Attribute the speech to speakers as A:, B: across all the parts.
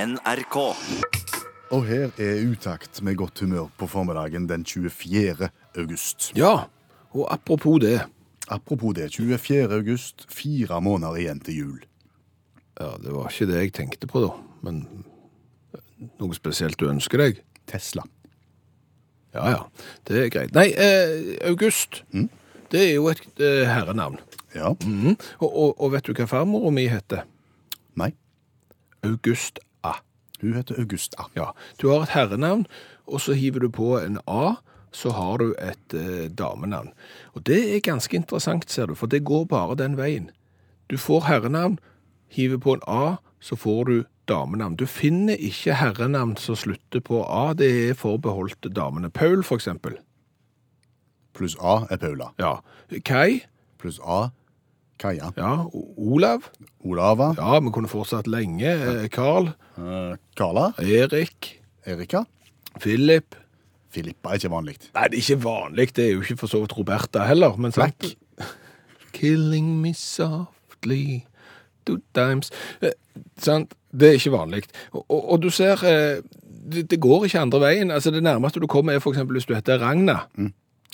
A: NRK.
B: Og her er utakt med godt humør på formiddagen den 24. august.
C: Ja, og apropos det.
B: Apropos det, 24. august, fire måneder igjen til jul.
C: Ja, det var ikke det jeg tenkte på da, men eh, noe spesielt du ønsker deg?
B: Tesla.
C: Ja, ja, det er greit. Nei, eh, August, det er jo et eh, herrenavn.
B: Ja.
C: Mhm. Og, og, og vet du hva farmora mi heter?
B: Nei,
C: August A.
B: hun heter Augusta.
C: Ja, du har et herrenavn, og så hiver du på en A, så har du et eh, damenavn. Og det er ganske interessant, ser du, for det går bare den veien. Du får herrenavn, hiver på en A, så får du damenavn. Du finner ikke herrenavn som slutter på A, det er forbeholdt damene. Paul, for eksempel.
B: Pluss A er Paula.
C: Ja. Kai.
B: Pluss A, Kaja.
C: Ja. O- Olav.
B: Olava.
C: Ja, vi kunne fortsatt lenge. Eh, Carl.
B: Eh, Carla.
C: Erik.
B: Erika.
C: Philip.
B: Filippa er ikke vanlig.
C: Nei, det er ikke vanlig. Det er jo ikke for så vidt Roberta heller. Men sånn- sant?
B: Black.
C: Killing me softly two times. Eh, sant? Det er ikke vanlig. Og, og, og du ser eh, det, det går ikke andre veien. Altså, det nærmeste du kommer, er f.eks. hvis du heter Ragna.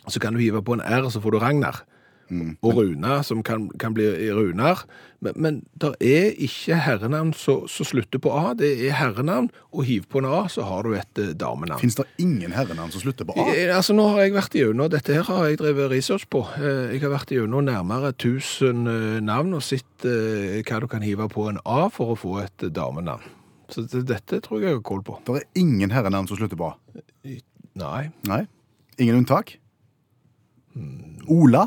C: Så kan du hive på en R, så får du Ragnar.
B: Mm.
C: Og Runa, som kan, kan bli Runar. Men, men det er ikke herrenavn som som slutter på A. Det er herrenavn, og hiv på en A, så har du et eh, damenavn.
B: Fins det ingen herrenavn som slutter på A?
C: Eh, Altså, nå har jeg vært igjennom Dette her har jeg drevet research på. Eh, Jeg har vært igjennom nærmere 1000 eh, navn og sett eh, hva du kan hive på en A for å få et eh, damenavn. Så det- dette tror jeg jeg har koll på.
B: Det er ingen herrenavn som slutter på A.
C: Nei.
B: Nei. Ingen unntak? Ola.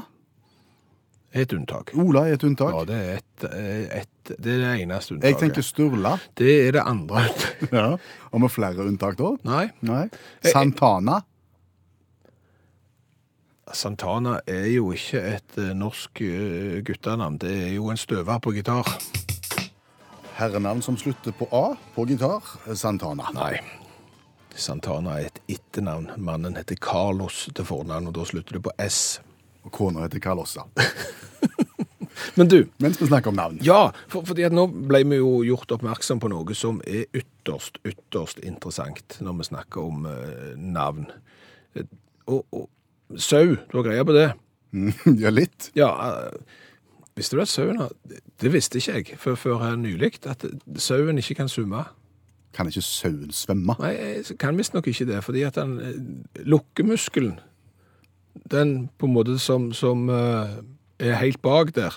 C: Et unntak.
B: Ola er et unntak.
C: Ja, det er et, eh, et Det er det eneste unntaket.
B: Jeg tenker Sturla.
C: Det er det andre unntaket.
B: Ja. Og med flere unntak da? Eh,
C: Nei.
B: Nei. Santana.
C: Santana er jo ikke et eh, norsk eh, guttenavn. Det er jo en støver på gitar.
B: Herrenavn som slutter på A på gitar. eh, Santana.
C: Nei. Santana er et etternavn. Mannen heter Carlos til fornavn, og da slutter det på S.
B: Og kona heter Carlossa.
C: Men du,
B: Mens vi snakker om navn.
C: ja, for, fordi at nå ble vi jo gjort oppmerksom på noe som er ytterst, ytterst interessant når vi snakker om eh, navn. Eh, Og, og sau, du har greie på det?
B: Ja, litt.
C: Ja, eh, visste du at sauen har Det visste ikke jeg før, før her nylig, at sauen ikke kan summe.
B: Kan ikke sauen svømme?
C: Nei, jeg kan visstnok ikke det, fordi at den eh, lukkemuskelen, den på en måte som, som eh, er helt bak der,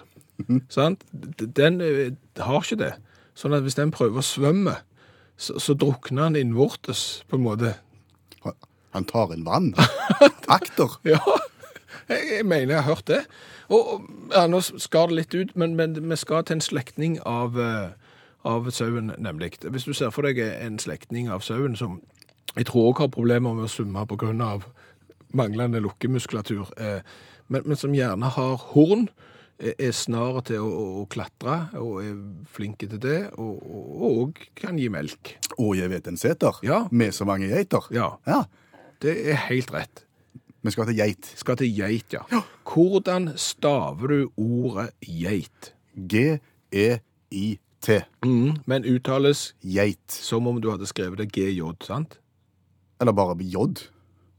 C: sant? D- den eh, har ikke det. Sånn at hvis den prøver å svømme, så, så drukner den innvortes, på en måte.
B: Han tar inn vann. Akter.
C: Ja, jeg, jeg mener jeg har hørt det. Og, og ja, nå skar det litt ut, men, men vi skal til en slektning av, eh, av sauen, nemlig. Hvis du ser for deg en slektning av sauen som jeg tror også har problemer med å summe pga. manglende lukkemuskulatur, eh, men, men som gjerne har horn, er- er snar til å, å- å klatre og er flinke til det, og, og, og kan gi melk.
B: Og jeg vet en seter.
C: Ja.
B: Med så mange geiter.
C: Ja,
B: Ja.
C: det er helt rett.
B: Vi skal til geit.
C: skal til geit, ja. Hvordan staver du ordet geit? Mm,
B: G-e-i-t.
C: Men uttales
B: Geit.
C: som om du hadde skrevet det GJ, sant?
B: Eller bare j.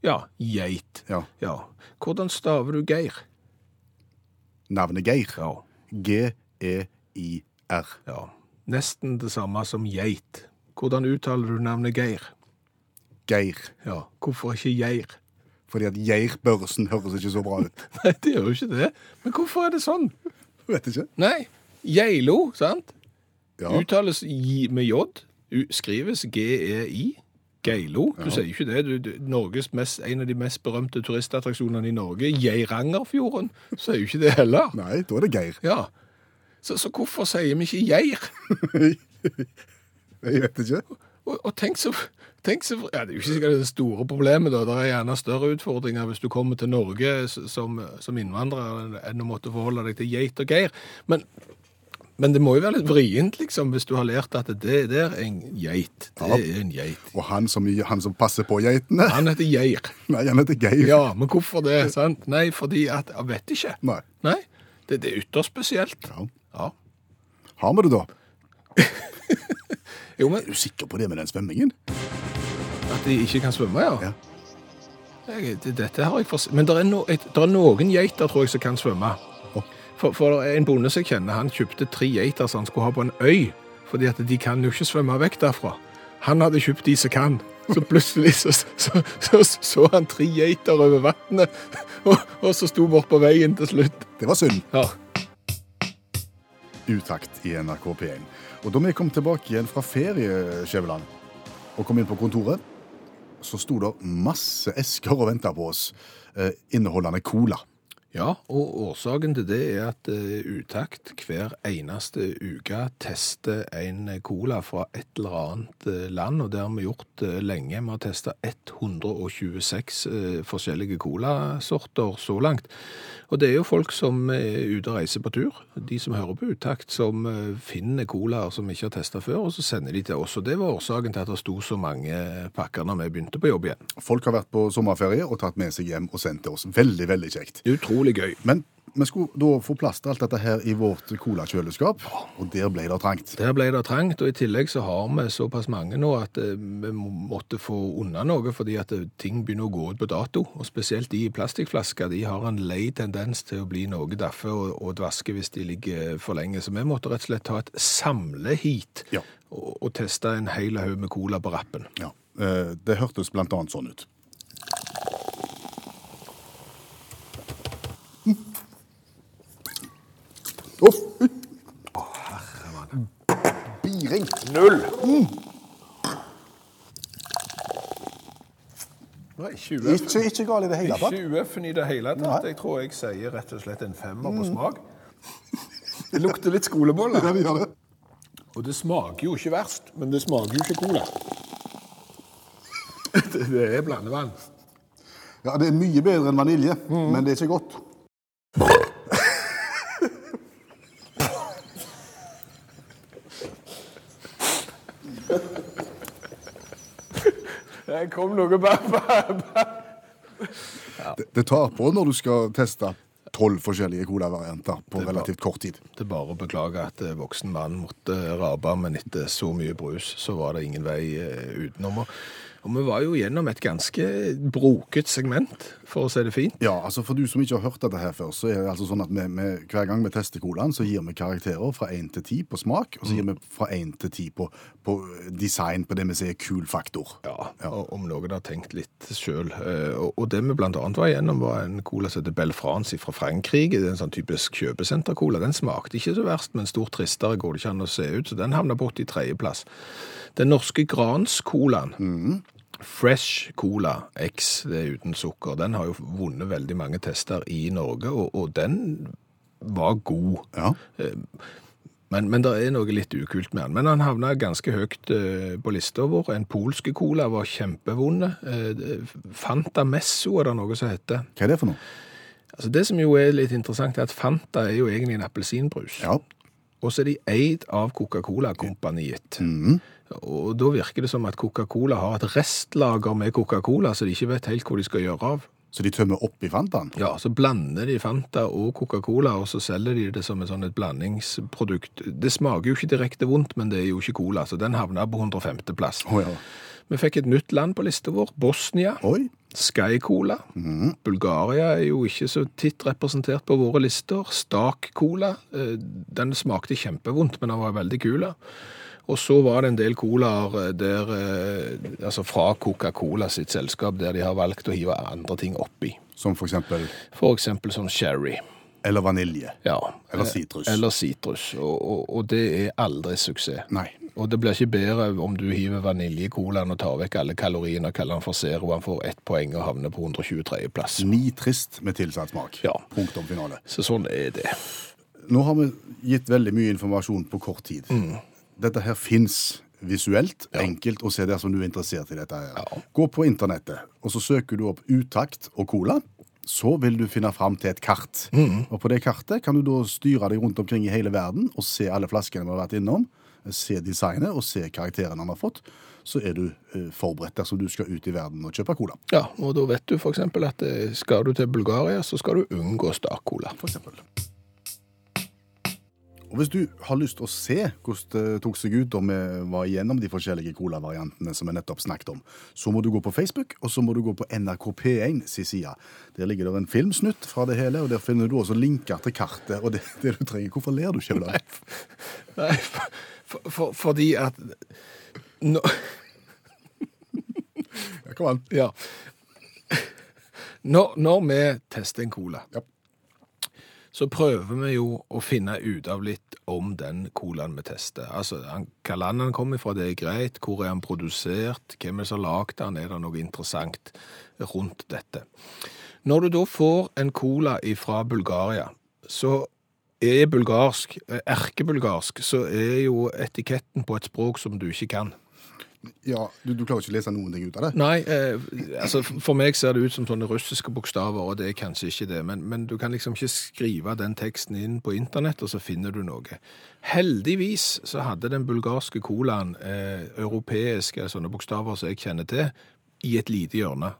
C: Ja, geit.
B: Ja.
C: Ja. Hvordan staver du Geir?
B: Navnet Geir.
C: Ja.
B: G-e-i-r.
C: ja. Nesten det samme som geit. Hvordan uttaler du navnet Geir?
B: Geir.
C: Ja. Hvorfor ikke Geir?
B: Fordi at Geir-børsen høres ikke så bra ut.
C: Nei, det gjør jo ikke det. Men hvorfor er det sånn?
B: Vet ikke.
C: Nei, geilo, sant?
B: Ja.
C: Uttales i, med J, u- skrives G-E-I. Geilo. Du sier jo ikke det. Du, du, Norges mest, en av de mest berømte turistattraksjonene i Norge, Geirangerfjorden, Du sier jo ikke det heller.
B: Nei, da er det Geir.
C: Ja. Så, så hvorfor sier vi ikke Geir?
B: Jeg vet ikke.
C: Og, og tenk så, tenk så ja, Det er jo ikke sikkert det store problemet, da. Det er gjerne større utfordringer hvis du kommer til Norge s- som, som innvandrer enn å måtte forholde deg til geit og geir. Men, men det må jo være litt vrient, liksom, hvis du har lært at det der er en geit. Det
B: Ja.
C: er en geit.
B: Og han som, han som passer på geitene?
C: Han heter Geir.
B: Nei, han heter Geir.
C: Ja, men hvorfor det? sant? Nei, fordi at Jeg vet ikke.
B: Nei.
C: Nei, det, det er ytterst spesielt.
B: Ja.
C: Ja.
B: Har vi det, da?
C: Jo, men
B: Er du sikker på det med den svømmingen?
C: At de ikke kan svømme, ja.
B: Ja.
C: Jeg, det- dette har jeg forstått. Men det er, no, et, der er noen geiter, tror jeg, som kan svømme.
B: Å.
C: For, for en bonde som jeg kjenner, han kjøpte tre geiter som han skulle ha på en øy, fordi at de kan jo ikke svømme vekk derfra. Han hadde kjøpt de som kan. Så plutselig så så, så, så, så han tre geiter over vannet, og, og så sto bort på veien til slutt.
B: Det var synd.
C: Ja.
B: Utakt i NRK P1. Og da vi kom tilbake igjen fra ferie, Skjæveland, og kom inn på kontoret, så sto det masse esker og venta på oss, eh, inneholdende cola.
C: Ja, og årsaken til det er at eh, Utakt hver eneste uke tester en cola fra et eller annet eh, land, og det har vi gjort eh, lenge. Vi har testa 126 eh, forskjellige colasorter så langt. Og det er jo folk som er ute og reiser på tur, de som hører på Utakt, som eh, finner colaer som vi ikke har testa før, og så sender de til oss. Og det var årsaken til at det sto så mange pakker når vi begynte på jobb igjen.
B: Folk har vært på sommerferie og tatt med seg hjem og sendt til oss. Veldig, veldig kjekt.
C: Det er utrolig gøy.
B: Men vi skulle da få plass til alt dette her i vårt colakjøleskap, og der ble det trangt.
C: Der ble det trangt, og i tillegg så har vi såpass mange nå at eh, vi må- måtte få unna noe, fordi at eh, ting begynner å gå ut på dato. Og spesielt de i plastikkflasker, de har en lei tendens til å bli noe daffe og, og dvaske hvis de ligger for lenge. Så vi måtte rett og slett ta et samlehit
B: Ja.
C: og, og teste en hel haug med cola på rappen.
B: Ja, eh, Det hørtes blant annet sånn ut. Uff! Biring.
A: Null.
B: Ikke, ikke gal i det hele tatt.
C: 20 i det hele
B: tatt. Nei.
C: Jeg tror jeg sier rett og slett en femmer på smak. Det lukter litt skoleboller.
B: Ja, det gjør det.
C: Og det smaker jo ikke verst, men det smaker jo ikke cola. Det, det er blandevann.
B: Ja, det er mye bedre enn vanilje, men det er ikke godt.
A: Det kom noe bare
B: Det, det tar på når du skal teste tolv forskjellige colavarianter på relativt kort tid.
C: Det er bare å beklage at eh, voksen mann måtte rabe, men etter så mye brus, så var det ingen vei eh, utenom. Og, og vi var jo gjennom et ganske broket segment, for å si det fint.
B: Ja, altså For du som ikke har hørt dette her før, så er det altså sånn at vi, vi, hver gang vi tester colaen, så gir vi karakterer fra 1 til 10 på smak, og så gir vi fra 1 til 10 på, på design, på det vi sier kul faktor.
C: Ja, og om noen har tenkt litt sjøl. Og og det vi blant annet var igjennom, var en cola som heter Belle France fra Frankrike. Det er en sånn typisk kjøpesenter-cola. Den smakte ikke så verst, men stort tristere går det ikke an å se ut, så den havna borti tredjeplass. Den norske Grans-colaen. Fresh Cola X, det er uten sukker, den har jo vunnet veldig mange tester i Norge, og, og den var god.
B: Ja.
C: Men, men det er noe litt ukult med han. Men han havna ganske høyt eh, på lista vår. En polske cola var kjempevonde. Uh, Fanta Messo er det noe som heter.
B: Hva er det for noe?
C: Altså Det som jo er litt interessant, er at Fanta er jo egentlig en appelsinbrus.
B: Ja,
C: Og så er de eid av
B: Mm.
C: Coca-Cola-kompaniet. Og da virker det som at Coca-Cola har et restlager med Coca-Cola, så de ikke vet helt hva de skal gjøre av.
B: Så de tømmer opp i Fantaen?
C: Ja, så blander de Fanta og Coca-Cola, og så selger de det som et sånn et blandingsprodukt. Det smaker jo ikke direkte vondt, men det er jo ikke cola, så den havna på 105. plass.
B: Å, ja.
C: Vi fikk et nytt land på lista vår, Bosnia.
B: Oi.
C: Sky Cola. Bulgaria er jo ikke så titt representert på våre lister. Stak Cola. eh, Den smakte kjempevondt, men den var veldig kul. Og så var det en del colaer eh, der, eh, altså fra Coca-Cola sitt selskap der de har valgt å hive andre ting oppi.
B: Som for eksempel
C: For eksempel som sherry.
B: Eller vanilje.
C: Ja. Eh,
B: Eller sitrus.
C: Eller sitrus. Og, og, og det er aldri suksess.
B: Nei.
C: Og det blir ikke bedre om du hiver vaniljekolan og tar vekk alle kaloriene og kaller den for zero. Han får ett poeng og havner på 123. plass.
B: Ni trist med tilsatt smak.
C: Ja.
B: Punktum finale.
C: Så sånn er det.
B: Nå har vi gitt veldig mye informasjon på kort tid. Dette her fins visuelt, enkelt å se dersom du er interessert i dette. her.
C: Ja.
B: Gå på internettet, og så søker du opp utakt og cola. Så vil du finne fram til et kart.
C: Mm.
B: Og på det kartet kan du da styre deg rundt omkring i hele verden og se alle flaskene vi har vært innom, se designet og se karakteren han har fått. Så er du eh, forberedt dersom du skal ut i verden og kjøpe cola.
C: Ja, og da vet du f.eks. at eh, skal du til Bulgaria, så skal du unngå stakkola.
B: for eksempel. Og Hvis du har lyst til å se hvordan det tok seg ut om vi var igjennom de forskjellige colavariantene som vi nettopp snakket om, så må du gå på Facebook, og så må du gå på NRK P1 sin side. Der ligger det en filmsnutt fra det hele, og der finner du også linker til kartet og det, det du trenger. Hvorfor ler du, Kjøvland?
C: Nei, for, for, for, fordi at nå,
B: Ja, kom an.
C: ja. når, når vi tester en cola,
B: Ja.
C: så prøver vi jo å finne ut av litt om den colaen vi tester. Altså, han, hva land han kommer fra, det er greit. Hvor er han produsert? Hvem er det som har lagd den? Er det noe interessant rundt dette? Når du da får en cola fra Bulgaria, så er bulgarsk, eh, erkebulgarsk, så er jo etiketten på et språk som du ikke kan.
B: Ja, du, du klarer ikke å lese noen ting ut av det?
C: Nei, eh, altså for meg ser det ut som sånne russiske bokstaver, og det er kanskje ikke det, men, men du kan liksom ikke skrive den teksten inn på internett, og så finner du noe. Heldigvis så hadde den bulgarske colaen eh, europeiske sånne bokstaver som jeg kjenner til, i et lite hjørne.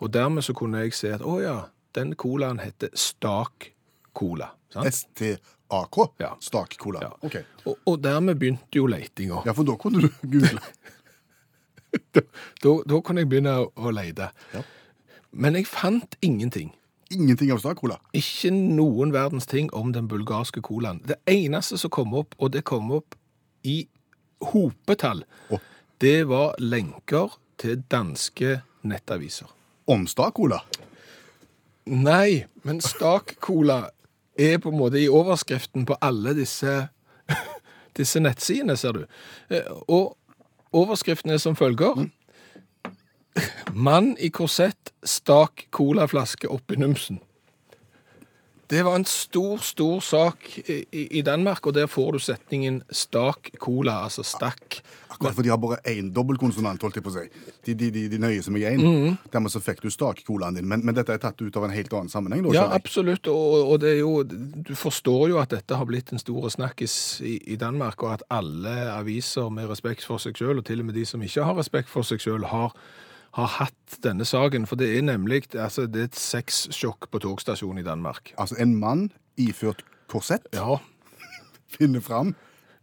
C: Og dermed så kunne jeg se at, å ja, den colaen heter Stak Cola. sant?
B: STAK?
C: Ja.
B: Stak cola.
C: Ja.
B: Ok.
C: Og, og dermed begynte jo letinga.
B: Ja, for da kunne du google.
C: Da, da kunne jeg begynne å, å lete.
B: Ja.
C: Men jeg fant ingenting.
B: Ingenting av stak cola.
C: Ikke noen verdens ting om den bulgarske colaen. Det eneste som kom opp, og det kom opp i hopetall,
B: Å.
C: det var lenker til danske nettaviser.
B: Om stak cola?
C: Nei, men Stak-cola er på en måte i overskriften på alle disse, disse nettsidene, ser du. Eh, Og overskriften er som følger. Mann i korsett stak colaflaske opp i numsen. Det var en stor, stor sak i, i i Danmark, og der får du setningen stak cola, altså stakk.
B: Akkurat for de har bare én dobbeltkonsonant, holdt jeg på å si. De, de, de, de nøyer seg med én.
C: Mhm.
B: Dermed så fikk du stak-colaen din. Men, men dette er tatt ut av en helt annen sammenheng, da?
C: Ja,
B: skjønner jeg.
C: absolutt. Og, og det er jo, du forstår jo at dette har blitt en stor snakkis i, i Danmark, og at alle aviser med respekt for seg selv, og til og med de som ikke har respekt for seg selv, har, har hatt denne saken. For det er nemlig altså, det er et sexsjokk på togstasjonen i Danmark.
B: Altså, en mann iført korsett
C: Ja,
B: finner fram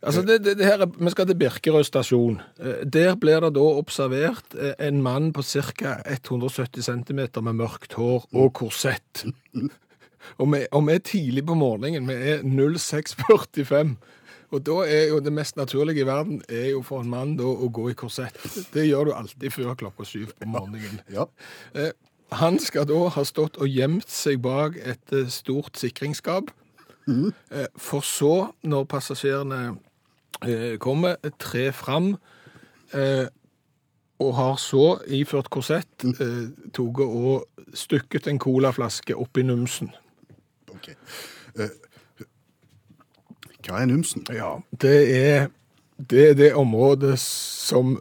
C: Altså, det, det, det her, er- Vi skal til Birkerød stasjon. Eh, Der blir det da observert eh, en mann på ca. 170 cm med mørkt hår og korsett. Og vi, og vi er tidlig på morgenen. Vi er 06.45. Og da er jo det mest naturlige i verden er jo for en mann da å gå i korsett. Det gjør du alltid før klokka syv på morgenen.
B: Ja.
C: Eh, Han skal da ha stått og gjemt seg bak et eh, stort sikringsskap. Eh, For så, når passasjerene eh, kommer, tre fram eh, og har så, iført korsett, eh, tatt og stykket en colaflaske opp i numsen.
B: OK. Eh, hva er numsen?
C: Ja, det er det, er det området som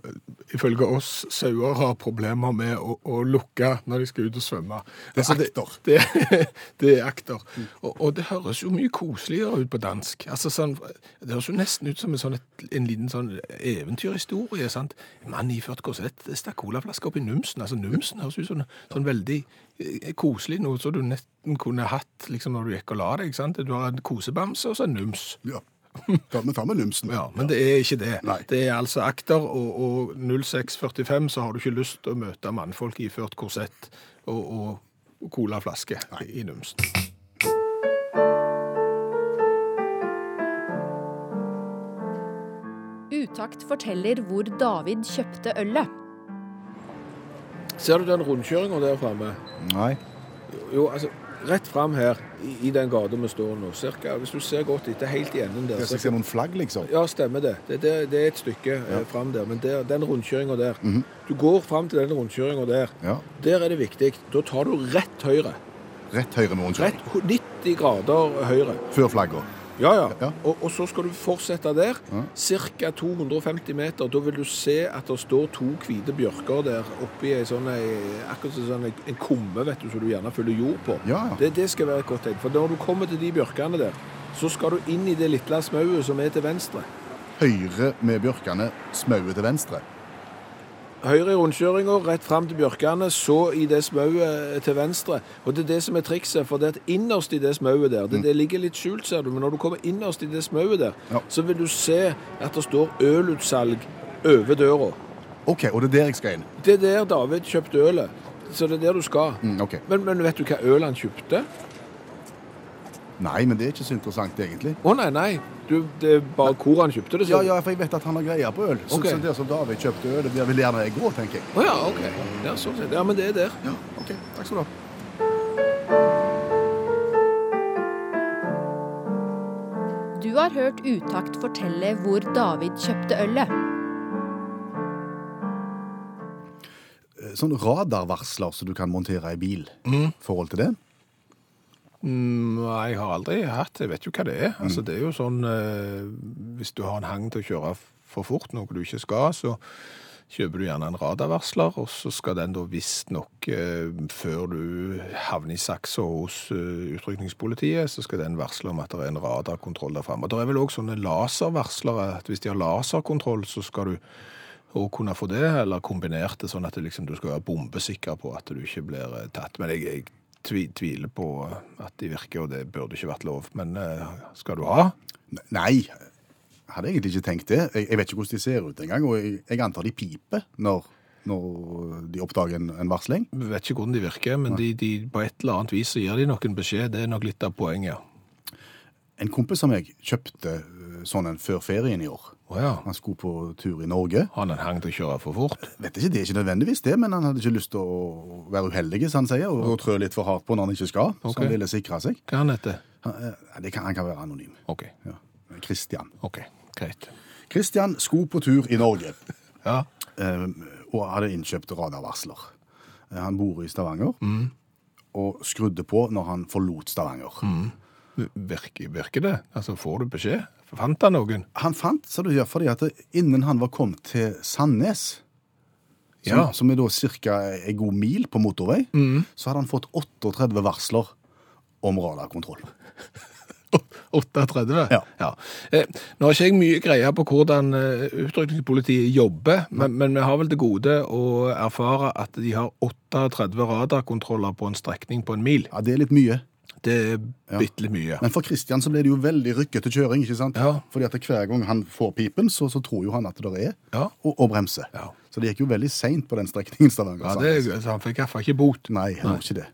C: ifølge oss sauer har problemer med å, å lukke når de skal ut og svømme. Altså,
B: Det er
C: Det, det, det er akter. Og, og det høres jo mye koseligere ut på dansk. Altså sånn, Det høres jo nesten ut som en, sånn, et- en liten sånn eventyrhistorie. sant? Mann iført korsett stakk colaflaske opp i numsen. Altså Numsen høres ut som sånn veldig eh, koselig, noe som du nesten kunne hatt liksom, når du gikk og la deg. sant? Du har en kosebamse og så en nums.
B: Ja. Ta, men ta med numsen.
C: Ja, men det er ikke det.
B: Nei.
C: Det er altså akter, og, og 0645 så har du ikke lyst til å møte mannfolk iført korsett og, og colaflaske i numsen.
D: Utakt forteller hvor David kjøpte ølet.
C: Ser du den rundkjøringa der framme?
B: Nei.
C: Jo, altså rett fram her i, i den gata vi står nå, cirka, hvis du ser godt etter, helt i enden der
B: Jeg skal
C: så-
B: se noen flagg, liksom.
C: Ja, stemmer det. Det, det, det er et stykke eh, fram der. Men der, den rundkjøringa der Du går fram til den rundkjøringa der.
B: Ja.
C: Der er det viktig. Da tar du rett høyre.
B: Rett høyre med
C: Rett
B: rundkjøring.
C: 90 grader høyre.
B: Før flagga.
C: Ja, ja.
B: Ja.
C: Og, og så skal du fortsette der, ca. 250 meter. Da vil du se at det står to hvite bjørker der oppi ei sånn ei- Akkurat som sånn ei- en kumme vet du, som du gjerne fyller jord på.
B: Ja, ja.
C: Det, det skal være et godt tegn. For når du kommer til de bjørkene der, så skal du inn i det lille smauet som er til venstre.
B: Høyre med bjørkene, smauet til venstre.
E: Høyre i rundkjøringa, rett fram til Bjørkane, så i det smauet eh, til venstre. Og det er det som er trikset, for det at innerst i det smauet der, det, det ligger litt skjult, ser du, men når du kommer innerst i det smauet der,
B: Ja.
E: så vil du se at det står ølutsalg over døra.
B: OK, og det er der jeg skal inn.
E: Det er der David kjøpte ølet, så det er der du skal.
B: Mm, ok.
E: Men, men vet du hva øl han kjøpte?
B: Nei, men det er ikke så interessant, egentlig.
E: Å nei, nei, du, det er bare hvor han kjøpte det.
B: Ja,
E: så-
B: ja, for jeg vet at han har greie på øl. Så,
E: Ok.
B: så der som David kjøpte øl, det der vil gjerne jeg gå, tenker jeg.
E: Å ja, ok. Ja, sånn sett. Ja, men det er der.
B: Ja, OK. Takk skal du ha.
D: Du har hørt Utakt fortelle hvor David kjøpte ølet.
B: Eh, Sånn radarvarsler som du kan montere i bil. Forhold til det?
C: Mm, Nei, jeg har aldri hatt det. Jeg vet jo hva det er. Altså, det er jo sånn eh, Hvis du har en hang til å kjøre f- for fort, noe du ikke skal, så kjøper du gjerne en radarvarsler, og så skal den da visstnok eh, før du havner i saksa hos eh, utrykningspolitiet, så skal den varsle om at det er en radarkontroll der framme. Det er vel òg sånne laservarslere. at Hvis de har laserkontroll, så skal du å kunne få det, eller kombinert det sånn at det liksom, du skal være bombesikker på at du ikke blir eh, tatt. Men jeg, jeg tvi, tviler på at de virker, og det burde ikke vært lov. Men eh, skal du ha?
B: Ne- Nei. Jeg hadde egentlig ikke tenkt det. Jeg, jeg vet ikke hvordan de ser ut engang, og jeg, jeg antar de piper når, når de oppdager en, en varsling.
C: Vi Vet ikke hvordan de virker, men de, de, på et eller annet vis så gir de nok en beskjed. Det er nok litt av poenget.
B: En kompis av meg kjøpte eh, sånn en før ferien i år.
C: Å ja.
B: Han skulle på tur i Norge.
C: Har han en hang til å kjøre for fort?
B: Vet ikke, Det er ikke nødvendigvis det, men han hadde ikke lyst til å være uheldig, som han sier, og, og trø litt for hardt på når han ikke skal. Så
C: Ok.
B: han ville sikre seg.
C: Hva er han heter?
B: Han, eh, det kan, han kan være anonym.
C: OK.
B: Ja. Christian.
C: ok, Greit.
B: Christian sko på tur i Norge
C: Ja.
B: eh, og hadde innkjøpt radarvarsler. Eh, Han bor i Stavanger og skrudde på når han forlot Stavanger.
C: Virker, virker det? Altså, får du beskjed? Fant han noen?
B: Han fant, sa du, ja, fordi at det- innen han var kommet til Sandnes, som,
C: Ja. Mm.
B: som er da ca. en god mil på motorvei, så hadde han fått 38 varsler om radarkontroll.
C: 38?
B: Ja.
C: Eh, Nå har ikke jeg mye greie på hvordan eh, utrykningspolitiet jobber, men, men vi har vel det gode å erfare at de har 38 radarkontroller på en strekning på en mil.
B: Ja, Det er litt mye.
C: Det er bitte litt mye.
B: Men for Kristian så ble det jo veldig rykkete kjøring. ikke sant?
C: Ja.
B: Fordi at hver gang han får pipen, så, så tror jo han at det er,
C: Ja.
B: og, og bremser.
C: Ja.
B: Så det gikk jo veldig seint på den strekningen. Stavanger.
C: Ja, det, er- så han fikk iallfall ikke bot.
B: Nei, han gjorde ikke det.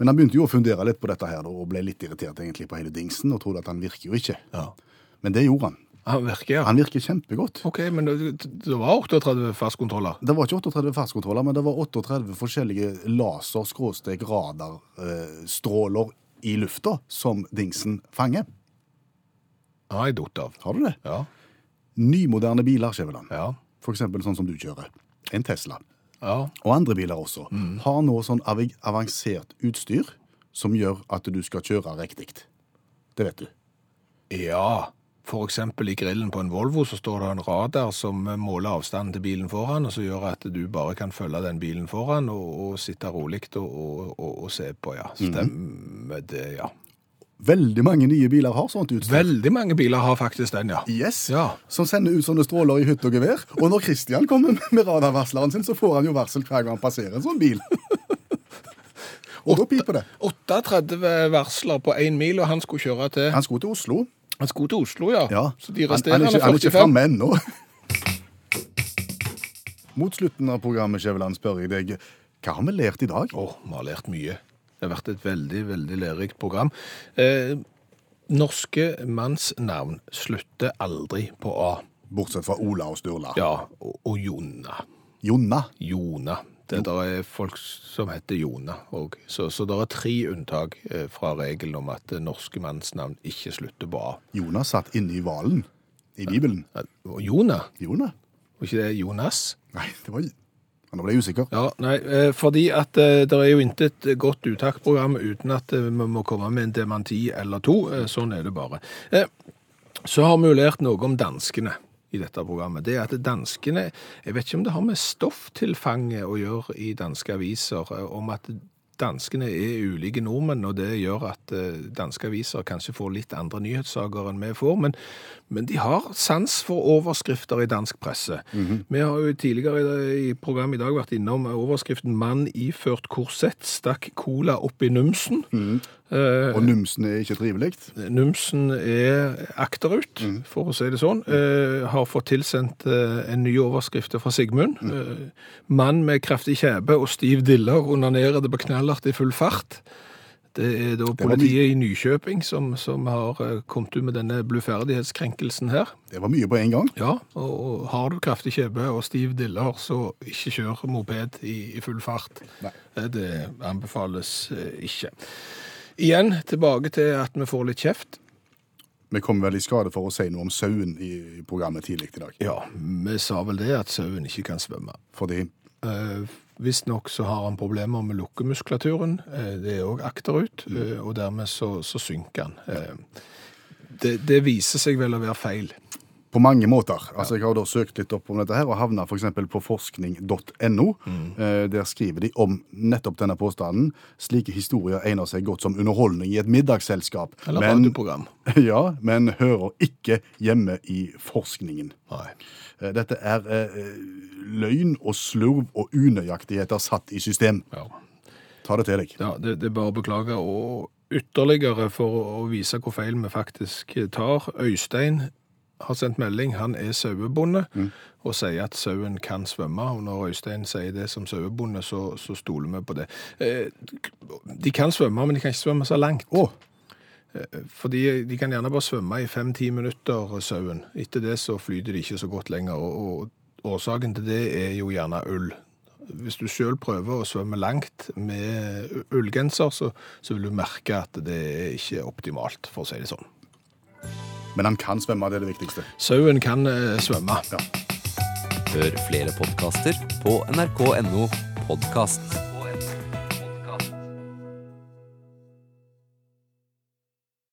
B: Men han begynte jo å fundere litt på dette her, da, og ble litt irritert egentlig på hele dingsen, og trodde at han virker jo ikke.
C: Ja.
B: Men det gjorde han.
C: Han virker, ja.
B: Han virker kjempegodt.
C: OK, men det, det var 38 fastkontroller.
B: Det var ikke 38 fartskontroller, men det var 38 forskjellige laser-radarstråler eh, i lufta som dingsen fanger.
C: Ja, jeg datt av.
B: Har du det?
C: Ja.
B: Nymoderne biler, Skjæveland.
C: Ja.
B: For eksempel sånn som du kjører. En Tesla.
C: ja.
B: og andre biler også, har nå sånn av- avansert utstyr som gjør at du skal kjøre riktig. Det vet du.
C: Ja. For eksempel i grillen på en Volvo så står det en radar som måler avstanden til bilen foran, og så gjør at du bare kan følge den bilen foran og, og sitte rolig og, og, og, og se på, ja.
B: Mhm.
C: Stemmer det, ja.
B: Veldig mange nye biler har sånt utstyr.
C: Veldig mange biler har faktisk den, ja.
B: Yes,
C: Ja.
B: Som sender ut sånne stråler i hytte og gevær. Og når Christian kommer med radarvarsleren sin, så får han jo varsel hver gang han passerer en sånn bil. og da piper det.
C: 38 varsler på én mil, og han skulle kjøre til
B: Han skulle til Oslo.
C: Han skulle til Oslo, ja.
B: Ja.
C: Så de
B: han,
C: resterende
B: han er ikke, han er ikke
C: 45
B: framme ennå. Mot slutten av programmet Skjæveland, spør jeg deg hva har vi lært i dag?
C: Åh, vi har lært mye. Det har vært et veldig, veldig lærerikt program. Eh, norske mannsnavn slutter aldri på A.
B: Bortsett fra Ola og Sturla.
C: Ja, og, og Jonna.
B: Jonna.
C: Jona. Det der er folk som heter Jona òg. Så, så det er tre unntak eh, fra regelen om at eh, norske mannsnavn ikke slutter på A.
B: Jonas satt inne i hvalen i Bibelen.
C: Eh, og Jona?
B: Jonas?
C: Var ikke det Jonas?
B: Nei, det var Nå ble jeg usikker.
C: Ja, nei, eh, fordi at eh, det er jo intet godt uttaktprogram uten at eh, vi må komme med en dementi eller to. Eh, Sånn er det bare. Eh, Så har vi jo lært noe om danskene i dette programmet. Det er at danskene Jeg vet ikke om det har med stofftilfanget å gjøre i danske aviser, eh, om at danskene er ulike nordmenn, og det gjør at eh, danske aviser kanskje får litt andre nyhetssaker enn vi får, men, men de har sans for overskrifter i dansk presse. Vi har jo tidligere i, i programmet i dag vært innom overskriften «Mann iført korsett stakk cola opp i numsen». Eh,
B: Og numsen er ikke trivelig.
C: Numsen er akterut,
B: Mm.
C: for å si det sånn. Eh, har fått tilsendt eh, en ny overskrift fra Sigmund.
B: Mm.
C: Eh, mann med kraftig kjebe og stiv diller onanerer det på knallhardt i full fart. Det er da
B: var
C: politiet i Nykjøping som, som har eh, kommet ut med denne bluferdighetskrenkelsen her.
B: Det var mye på en gang.
C: Ja, og, og har du kraftig kjebe og stiv diller, så ikke kjør moped i, i full fart.
B: Nei.
C: Eh, Det anbefales eh, ikke. Igjen tilbake til at vi får litt kjeft.
B: Vi kom vel i skade for å si noe om sauen i programmet tidlig i dag.
C: Ja, vi sa vel det at sauen ikke kan svømme.
B: Fordi
C: Eh, Visstnok så har han problemer med lukkemuskulaturen. Eh, det er òg akterut, eh, og dermed så, så synker han. Eh, det, det viser seg vel å være feil.
B: På mange måter. Altså, Jeg har da søkt litt opp om dette her, og havna f.eks. på forskning.no. Eh, der skriver de om nettopp denne påstanden. Slike historier egner seg godt som underholdning i et middagsselskap,
C: Eller
B: men,
C: radioprogram.
B: ja, men hører ikke hjemme i forskningen.
C: Nei.
B: Eh, dette er eh, løgn og slurv og unøyaktigheter satt i system.
C: Ja.
B: Ta det til deg.
C: Ja, det, det er bare å beklage. Og ytterligere for å- å vise hvor feil vi faktisk tar. Øystein har sendt melding. Han er sauebonde og sier at sauen kan svømme. Og når Øystein sier det som sauebonde, så, så stoler vi på det. Eh, De kan svømme, men de kan ikke svømme så langt.
B: Å.
C: Eh, Fordi de kan gjerne bare svømme i fem-ti minutter, sauen. Etter det så flyter de ikke så godt lenger. Og, og årsaken til det er jo gjerne ull. Hvis du sjøl prøver å svømme langt med u- ullgenser, så, så vil du merke at det er ikke optimalt, for å si det sånn.
B: Men han kan svømme, det er det viktigste.
C: Sauen kan eh, svømme.
F: Hør flere podkaster på nrk.no podkast.